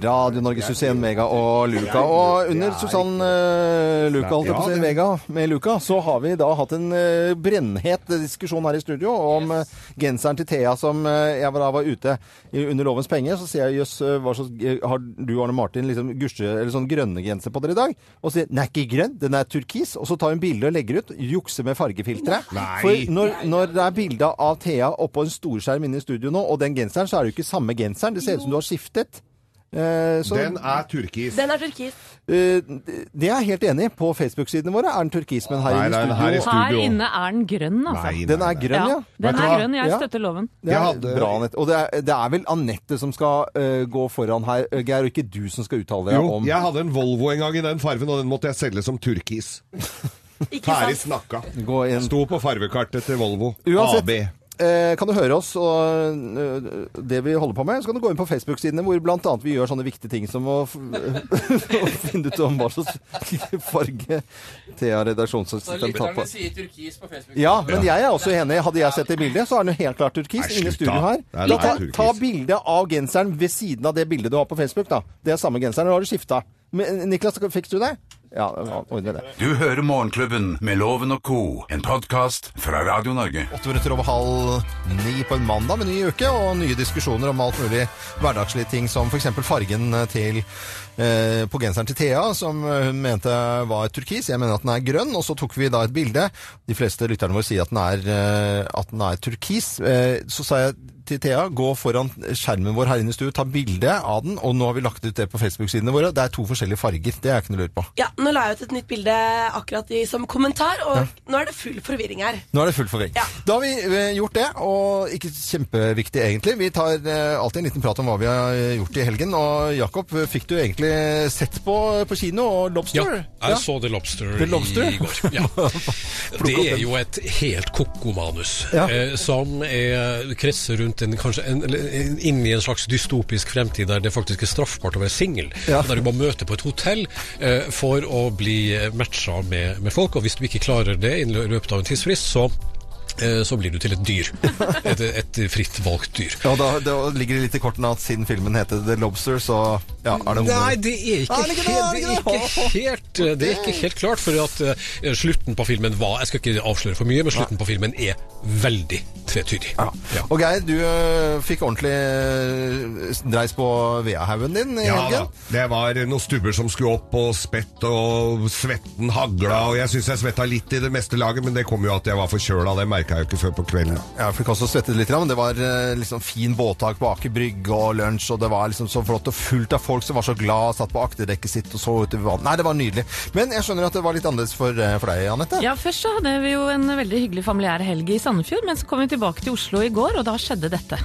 S3: Radio Norge, Susanne Vega og Luca. Og under Susann eh, Luca, holdt jeg på å si, Vega med Luca, så har vi da hatt en eh, brennhet diskusjon her i studio om eh, genseren til Thea som eh, jeg da var ute i- under lovens penger. Så sier jeg jøss, eh, hva slags eh, har du Arne Martin liksom gusje, eller sånn grønne genser på dere i dag? Og sier den er ikke grønn, den er turkis. Og så tar hun bilde og legger ut. Jukser med fargefilteret.
S4: Nei.
S3: For når, når det er bilde av Thea oppå en storskjerm inne i studio nå, og den genseren, så er det jo ikke samme genseren. Det ser ut som du har skiftet. Eh, så
S4: Den er turkis.
S10: Den er turkis.
S3: eh, det er jeg helt enig i. På Facebook-sidene våre er den turkis, men her
S4: Nei,
S3: inne
S4: nei,
S3: i studio
S4: her i stu-
S5: Her
S4: Studio.
S5: inne er den grønn, altså.
S4: Nei, nei,
S3: Den
S4: nei.
S3: er grønn, ja.
S5: Den
S4: Vet du
S5: er
S4: hva?
S5: grønn. Jeg
S3: Ja.
S5: støtter loven.
S3: Det er
S4: Jeg hadde-
S3: bra, Anette. Og det er, det er vel Anette som skal eh, gå foran her, eh, Geir, og ikke du som skal uttale deg
S4: Jo,
S3: om
S4: jeg hadde en Volvo en gang i den farven, og den måtte jeg selge som turkis.
S10: Ikke
S4: Ferdig
S10: sant?
S4: snakka.
S3: Gå inn.
S4: Sto på farvekartet til Volvo.
S3: Uansett.
S4: AB.
S3: Eh, kan du høre oss og eh, det vi holder på med, så kan du gå inn på Facebook-sidene hvor blant annet vi gjør sånne viktige ting som å, f- å finne ut om hva slags farge Thea redaksjonsassistent tar på.
S11: sier turkis på Facebook.
S3: Ja, men jeg er også enig. Hadde jeg sett det bildet, så er den jo helt klart turkis
S4: Nei,
S3: inne i
S4: slutt
S3: studio
S4: da.
S3: her.
S4: Nei,
S3: Da
S4: det
S3: ta,
S4: er turkis.
S3: ta bilde av genseren ved siden av det bildet du har på Facebook, da. Det er samme genseren. Nå har du skifta. Men, Niklas, fikk du det? Ja, ordner det.
S2: Du hører Morgenklubben med Loven og Co., en podkast fra Radio Norge.
S3: Åtte minutter over halv ni på en mandag med ny uke, og nye diskusjoner om alt mulig hverdagslige ting, som f.eks. fargen til, eh, på genseren til Thea, som hun mente var turkis. Jeg mener at den er grønn, og så tok vi da et bilde. De fleste lytterne våre sier at den er, eh, at den er turkis. Eh, så sa jeg til Thea, gå foran skjermen vår her inne i studio, ta bilde av den, og nå har vi lagt ut det på Facebook-sidene våre. Det er to forskjellige farger, det er ikke noe å lure på.
S10: Ja, nå la jeg ut et nytt bilde akkurat i, som kommentar, og nå er det full forvirring her.
S3: Nå er det full forvirring.
S10: Ja.
S3: Da har vi eh, gjort det, og ikke kjempeviktig egentlig. Vi tar eh, alltid en liten prat om hva vi har eh, gjort i helgen. Og Jakob, eh, fikk du egentlig sett på, eh, på kino og
S11: Ja,
S3: Lobster?
S11: jeg så The Lobster,
S3: The Lobster?
S11: i går. Ja. Det er jo et helt koko manus,
S3: Ja.
S11: eh, som er, kretser rundt en, kanskje en, eller en- inn i en slags dystopisk fremtid der det faktisk er straffbart å være singel.
S3: Ja.
S11: Der du må møte på et hotell eh, for å bli matcha med, med folk, og hvis du ikke klarer det i lø- løpet av en tidsfrist, så eh, så blir du til et dyr. Et, et fritt valgt dyr.
S3: Ja, da, da ligger det litt i kortene at siden filmen heter The Lobster, så ja, er det
S11: Nei, det er ikke,
S3: Er det ikke det? Er det
S11: helt,
S3: ikke
S11: det
S3: det?
S11: er ikke helt eh, Det er ikke helt klart, for at eh, slutten på filmen var Jeg skal ikke avsløre for mye, men slutten på filmen er veldig tvetydig. Ja.
S3: Og Geir, du eh, fikk ordentlig eh, dreis på Veahaugen din i
S4: Ja da.
S3: helgen.
S4: Det var noen stubber som skulle opp, og spett og svetten hagla. Og jeg syns jeg svetta litt i det meste laget, men det kom jo at jeg var forkjøla. Det merka jeg jo ikke før på kvelden.
S3: Jeg fikk også svettet litt, men det var eh, liksom fin båttak på Aker Brygge og lunsj, og det var liksom så flott og fullt av folk som var så glad, satt på akterdekket sitt og så ut i vannet. Nei, det var nydelig. Men jeg skjønner at det var litt annerledes for, eh, for deg, Anette.
S5: Ja, Først så hadde vi jo en veldig hyggelig familiær helg i Sandefjord, men så kom vi tilbake til Oslo i går, og da skjedde dette.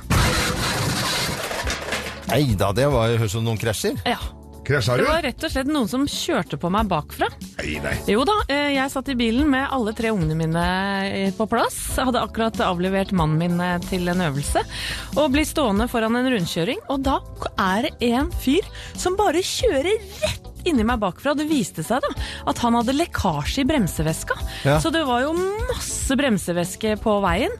S3: Nei da, det var, høres ut som noen krasjer.
S5: Ja,
S4: Krasja du?
S5: Det var rett og slett noen som kjørte på meg bakfra.
S4: Nei, nei.
S5: Jo da, eh, jeg satt i bilen med alle tre ungene mine eh, på plass. Jeg hadde akkurat avlevert mannen min eh, til en øvelse. Og blir stående foran en rundkjøring, og da er det en fyr som bare kjører rett inni meg bakfra. Det viste seg da at han hadde lekkasje i bremseveska.
S3: Ja.
S5: Så det var jo masse bremsevæske på veien.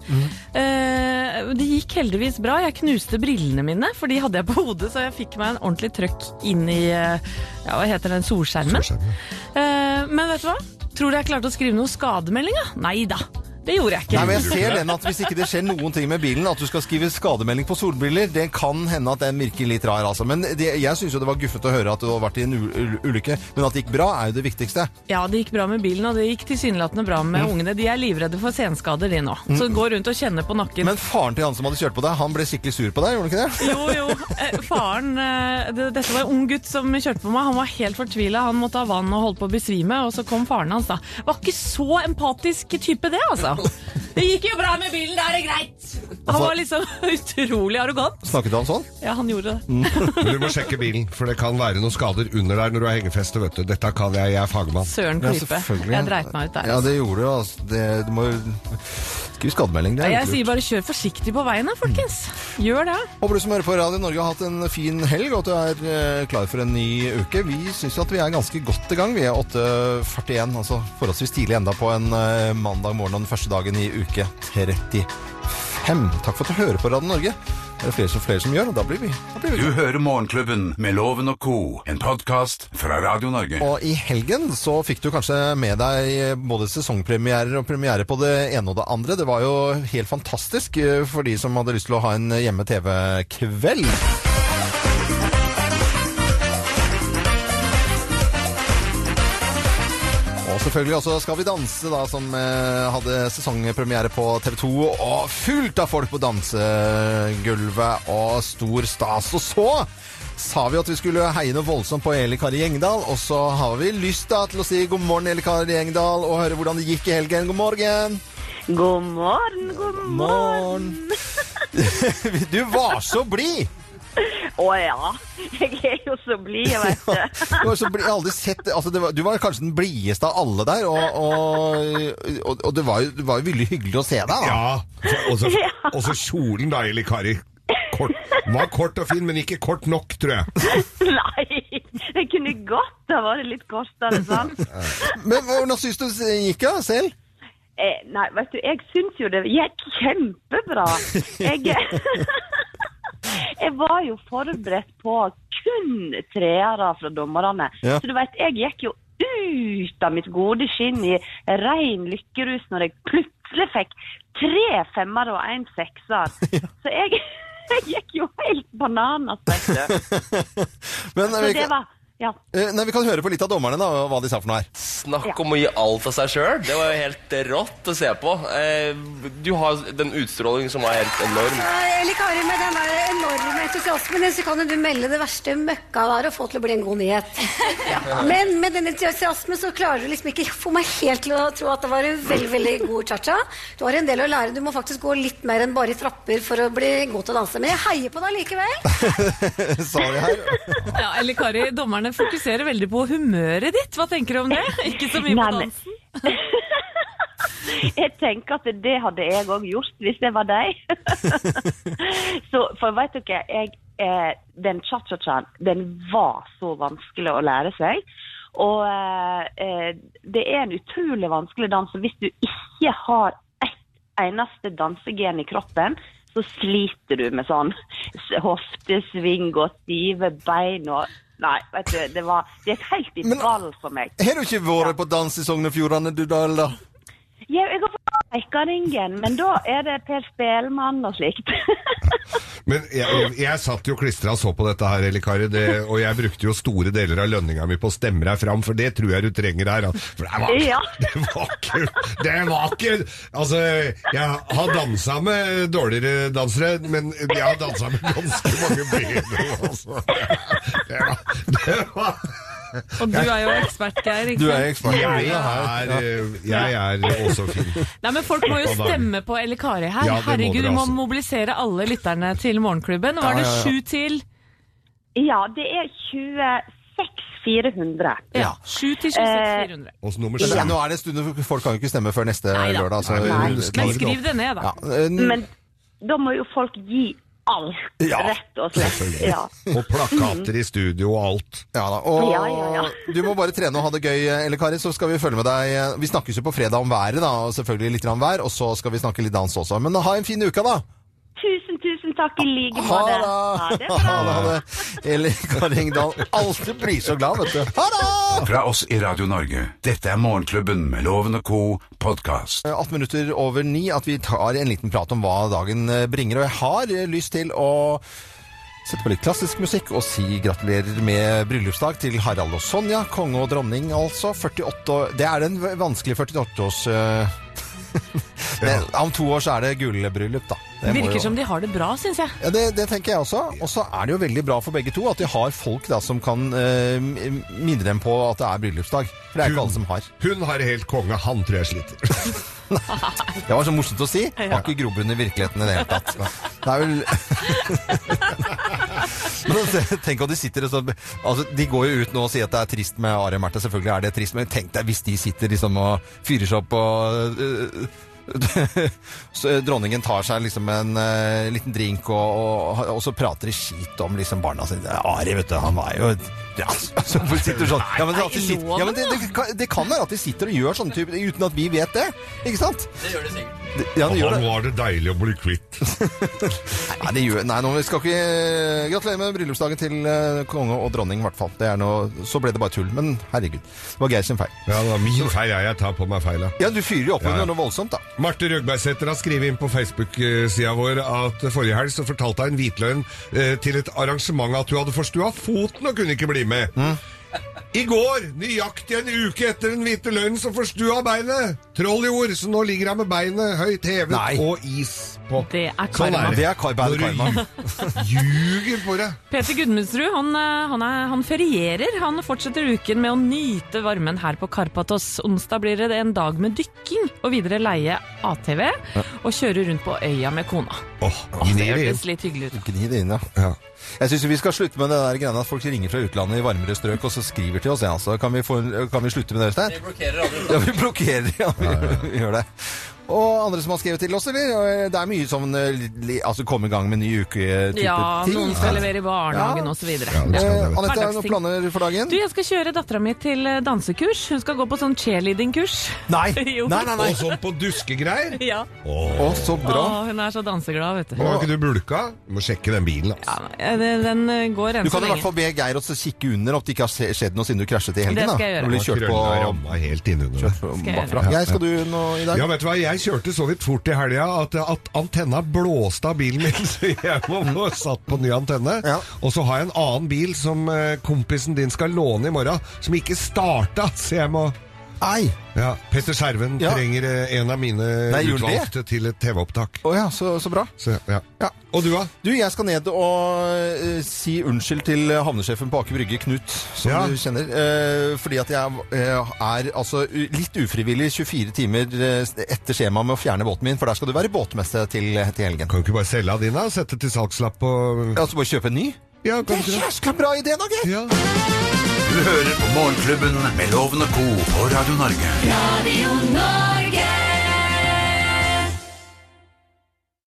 S5: Eh, det gikk heldigvis bra. Jeg knuste brillene mine, for de hadde jeg på hodet, så jeg fikk meg en ordentlig trøkk inn i eh, ja, hva heter den, solskjermen. Eh, men vet du hva? Tror du jeg klarte å skrive noe skademelding? da? Nei da. Det gjorde jeg ikke.
S3: Nei, men jeg ser den at Hvis ikke det skjer noen ting med bilen, at du skal skrive skademelding på solbriller, det kan hende at den virker litt rar, altså. Men det, jeg syns jo det var guffet å høre at du har vært i en ul- ul- ulykke. Men at det gikk bra, er jo det viktigste.
S5: Ja, det gikk bra med bilen, og det gikk tilsynelatende bra med
S3: Mm.
S5: ungene. De er livredde for senskader, de nå. Så
S3: Mm.
S5: gå rundt og kjenne på nakken.
S3: Men faren til han som hadde kjørt på deg, han ble skikkelig sur på deg, gjorde han ikke det?
S5: Jo, jo. eh, Faren eh, det- Dette var en ung gutt som kjørte på meg. Han var helt fortvila. Han måtte ha vann og holdt på å besvime. Og så kom faren hans, da. Var ikke så empatisk type, det, altså. Det gikk jo bra med bilen, da er det greit. Han
S3: Altså-
S5: var liksom utrolig arrogant.
S3: Snakket han sånn?
S5: Ja, han gjorde det.
S4: Men du må sjekke bilen, for det kan være noen skader under der når du har hengefeste. vet du. Dette kan jeg, jeg er fagmann.
S5: Søren
S3: Ja,
S5: klype.
S3: selvfølgelig.
S5: jeg dreit meg ut der.
S3: Ja,
S5: altså.
S3: det gjorde du, altså. Det, du må jo skrive skademelding. Det
S5: Nei,
S3: er
S5: Jeg
S3: jo
S5: sier
S3: lurt.
S5: bare kjør forsiktig på veien, da, folkens. Gjør det.
S3: Håper du som hører på Radio Norge har hatt en fin helg, og at du er eh, klar for en ny uke. Vi syns at vi er ganske godt i gang. Vi er 8.41, altså forholdsvis tidlig enda på en eh, mandag morgen og den første dagen i uke 35. Takk for at du hører på Radio Norge. Det er flere som, flere som gjør, og da blir vi
S2: Du hører Morgenklubben med Loven og Co., en podkast fra Radio Norge.
S3: Og i helgen så fikk du kanskje med deg både sesongpremierer og premiere på det ene og det andre. Det var jo helt fantastisk eh, for de som hadde lyst til å ha en hjemme-TV-kveld. Og selvfølgelig også Skal vi danse, da, som eh, hadde sesongpremiere på TV 2. Og fullt av folk på dansegulvet og stor stas. Og så sa vi at vi skulle heie noe voldsomt på Eli Kari Gjengdal. Og så har vi lyst da til å si god morgen, Eli Kari Gjengdal, og høre hvordan det gikk i helgen. God morgen!
S12: God morgen, god morgen.
S3: Du var så blid!
S12: Å ja. Jeg er jo så blid, jeg vet du.
S3: Du var, så blid. Jeg har aldri sett, altså det var, du var kanskje den blideste av alle der, og, og, og, og det, var jo, det var jo veldig hyggelig å se deg. da.
S4: Ja, og så, og så kjolen da, Eli Kari. Kort. Var kort og fin, men ikke kort nok, tror jeg.
S12: Nei, jeg kunne godt ha vært litt kortere, sant?
S3: Men hvordan syns du det gikk da, selv?
S12: Eh, nei, vet du, jeg syns jo det gikk kjempebra. Jeg, jeg var jo forberedt på kun treere fra dommerne.
S1: Ja.
S12: Så du vet, jeg gikk jo ut av mitt gode skinn i rein lykkerus når jeg plutselig fikk tre femmere og en sekser. Så jeg, jeg gikk jo helt bananas, vet du.
S3: Men
S12: Så
S3: vi,
S12: det var Ja.
S3: eh, nei, vi kan høre på litt av dommerne, da, hva de sa for noe her.
S13: Snakk om å gi alt av seg sjøl. Det var jo helt rått å se på. Eh, Du har den utstrålingen som var helt enorm.
S14: Eli Kari, med den der enorme entusiasmen din, så kan jo du melde det verste møkka der og få til å bli en god nyhet. Men med den entusiasmen så klarer du liksom ikke få meg helt til å tro at det var en veldig veldig god cha-cha. Du har en del å lære. Du må faktisk gå litt mer enn bare i trapper for å bli god til å danse. Men jeg heier på deg likevel.
S5: Ja, Eller Kari, dommerne fokuserer veldig på humøret ditt. Hva tenker du om det? Ikke så mye på
S12: Nei, men-
S5: dansen.
S12: Jeg tenker at det hadde jeg òg gjort hvis det var deg. så, for vet dere, jeg, eh, den cha-cha-chaen, den var så vanskelig å lære seg. Og eh, eh, det er en utrolig vanskelig dans. og Hvis du ikke har ett eneste dansegen i kroppen, så sliter du med sånn s- hoftesving og stive bein og Nei, vet du, det, var, det gikk helt i ball for meg.
S3: Har du ikke vært på dans i Sogn og Fjordane, du da, eller?
S12: Ja, jeg har fått Eikaringen, men da er det Per Spelmann og slikt.
S4: Men jeg, jeg satt jo klistra og så på dette her, Eli Kari, det, og jeg brukte jo store deler av lønninga mi på å stemme deg fram, for det tror jeg du trenger her. da. For det var,
S12: Ja.
S4: det var ikke Det var ikke Altså, jeg har dansa med dårligere dansere, men jeg har dansa med ganske mange bedre, altså. Det var, det var
S5: Og du er jo ekspert, Geir. Ikke sant?
S4: Jeg er, eh, jeg er også fin.
S5: Nei, men Folk må jo stemme på Eli Kari her.
S4: Ja, det må
S5: Herregud,
S4: dere
S5: du må
S4: altså.
S5: mobilisere alle lytterne til Morgenklubben.
S4: Ja,
S5: Var det
S4: ja, ja.
S5: sju til?
S12: Ja, det er 26400.
S5: Ja, 7 til 26400.
S4: Og så nummer
S3: Men
S4: sju.
S3: Nå er det en stund hvor folk kan jo ikke stemme før neste
S4: Eh,
S3: lørdag. Så
S4: Nei, men
S3: skriv
S4: skriv
S3: opp.
S5: det ned, da.
S4: eh,
S3: Ja, Eh, en-
S12: Men da må jo folk gi alt, rett og slett. Ja.
S4: Og plakater i studio og alt.
S3: Ja da, og
S12: Ja, ja, ja.
S3: du må bare trene og ha det gøy, Elle Kari, så skal vi følge med deg. Vi snakkes jo på fredag om været, da, og selvfølgelig litt grann vær, og så skal vi snakke litt dans også. Men ha en fin uke, da!
S12: Tusen, tusen takk i like
S3: Ha
S12: måte.
S3: det!
S12: Ha det
S3: Ha det, ha det. Eli Kari Engdahl, alltid blir så glad, vet du. Ha det!
S2: Fra oss i Radio Norge, dette er Morgenklubben med Loven og Co. podkast.
S3: 18 minutter over ni at vi tar en liten prat om hva dagen eh, bringer. Og jeg har eh, lyst til å sette på litt klassisk musikk og si gratulerer med bryllupsdag til Harald og Sonja. Konge og dronning, altså. 48 år- Det er den v- vanskelige 48-års... eh, Men om to år så er det gullbryllup, da. Det må jo-
S5: Virker som de har det bra, syns jeg.
S3: ja, det, det tenker jeg også. Og så er det jo veldig bra for begge to at de har folk da, som kan eh, minne dem på at det er bryllupsdag. For det er ikke alle som har.
S4: Hun har helt konge, han tror jeg sliter.
S3: Det var så morsomt å si. Har ikke grobunn i virkeligheten i det hele tatt. Det er vel Men altså, Tenk at de sitter og så altså, De går jo ut nå og sier at det er trist med Are Märtha. Selvfølgelig er det trist, men tenk deg hvis de sitter liksom og fyrer seg opp og øh, så dronningen tar seg liksom en eh, liten drink, og, og, og så prater de skit om liksom barna sine. Ari, vet du, han var jo ja, så sitter sånn. ja, men,
S1: Nei,
S3: at de sitter,
S1: loven,
S3: ja, men det, det, kan- det kan være at de sitter og gjør sånne typer uten at vi vet det. Ikke sant?
S13: Det gjør det sikkert.
S3: Det, ja, det gjør
S4: Han
S3: det.
S4: var det deilig å bli kvitt.
S3: Nei, det gjør, nei nå, vi skal ikke eh, gratulere med bryllupsdagen til eh, konge og dronning, i hvert fall. Det er noe, så ble det bare tull. Men herregud, det var Geir sin feil.
S4: Ja, det var min feil. Jeg, jeg tar på meg feila.
S3: Ja, du fyrer jo opp
S4: Ja, ja.
S3: under noe voldsomt, da.
S4: Marte Røgbergsæter har skrevet inn på Facebook-sida vår at forrige helg så fortalte hun en hvitløgn eh, til et arrangement at hun hadde forstua foten og kunne ikke bli med.
S3: Mm.
S4: I går, nøyaktig en uke etter den hvite løgnen, så forstua beinet. Troll i ord, så nå ligger jeg med beinet høyt hevet
S3: Nei.
S4: og is på.
S5: Det er
S4: Sånn
S5: karma.
S4: er det.
S3: Det er kar- bare
S4: Når du
S3: karma.
S4: Ljuger for deg.
S5: Peter Gudmundsrud han, eh, han, er, han ferierer. Han fortsetter uken med å nyte varmen her på Karpatos. Onsdag blir det en dag med dykking, og videre leie ATV og kjøre rundt på øya med kona. Det hørtes litt hyggelig ut.
S3: Gni det inn, ja. Jeg syns vi skal slutte med det der greiene at folk ringer fra utlandet i varmere strøk og så skriver til oss. Ja, altså. kan, vi få, en- kan vi slutte med det, Øystein?
S13: Vi blokkerer alle.
S3: Ja, vi blokkerer. Ja, vi, vi gjør det. Og andre som har skrevet til oss, eller? Det er mye sånn eh, li- Altså komme i gang med ny uke-type
S5: Ja,
S3: ting.
S5: noen skal levere i barnehagen og så videre.
S3: Ja, det skal det.
S5: Ja.
S3: Anette, er det noen
S5: Hverdagsting.
S3: planer for dagen?
S5: Du, jeg skal kjøre dattera mi til eh, dansekurs. Hun skal gå på sånn cheerleading-kurs.
S3: Nei.
S5: Jo.
S4: Og sånn på duskegreier.
S5: Ja.
S4: Å, så
S5: Å, hun er så danseglad, vet du.
S4: Har ikke du bulka? Du må sjekke den bilen, altså.
S5: Eh, det- Den eh, går enn
S3: Du
S5: så
S3: kan i
S5: lenge.
S3: hvert fall be Geir å kikke under at det ikke har se- skjedd noe siden du krasjet i helgen.
S5: Det skal jeg
S3: da.
S5: gjøre.
S3: Du blir kjørt på
S4: Krølla ramma helt innunder.
S5: jeg gjøre.
S3: bakfra. Geir, skal du noe i dag?
S4: Ja, vet du hva, jeg kjørte så vidt fort i helga at, at antenna blåste av bilen min, så jeg må få satt på ny antenne. Og så har jeg en annen bil som eh, kompisen din skal låne i morgen, som ikke starta, så jeg må
S3: Ei.
S4: Ja, Petter Skjerven
S3: Ja.
S4: trenger eh, en av mine
S3: Nei, gjorde
S4: utvalgte til et TV-opptak.
S3: Å ja, så, så bra.
S4: Så, ja. Og du, da?
S3: Du, jeg skal ned og eh, si unnskyld til havnesjefen på Aker Brygge, Knut, som
S4: Ja.
S3: du kjenner. eh, fordi at jeg eh, er altså u- litt ufrivillig 24 timer eh, etter skjemaet med å fjerne båten min, for der skal du være båtmesse til, til helgen.
S4: Kan du ikke bare selge av dine og sette til salgslapp på
S3: Ja, så bare kjøpe en ny?
S4: Ja,
S3: det er jæskla bra idé, da, Geir!
S2: Du hører på Morgenklubben med Loven og Co. på Radio Norge.
S1: Radio Norge.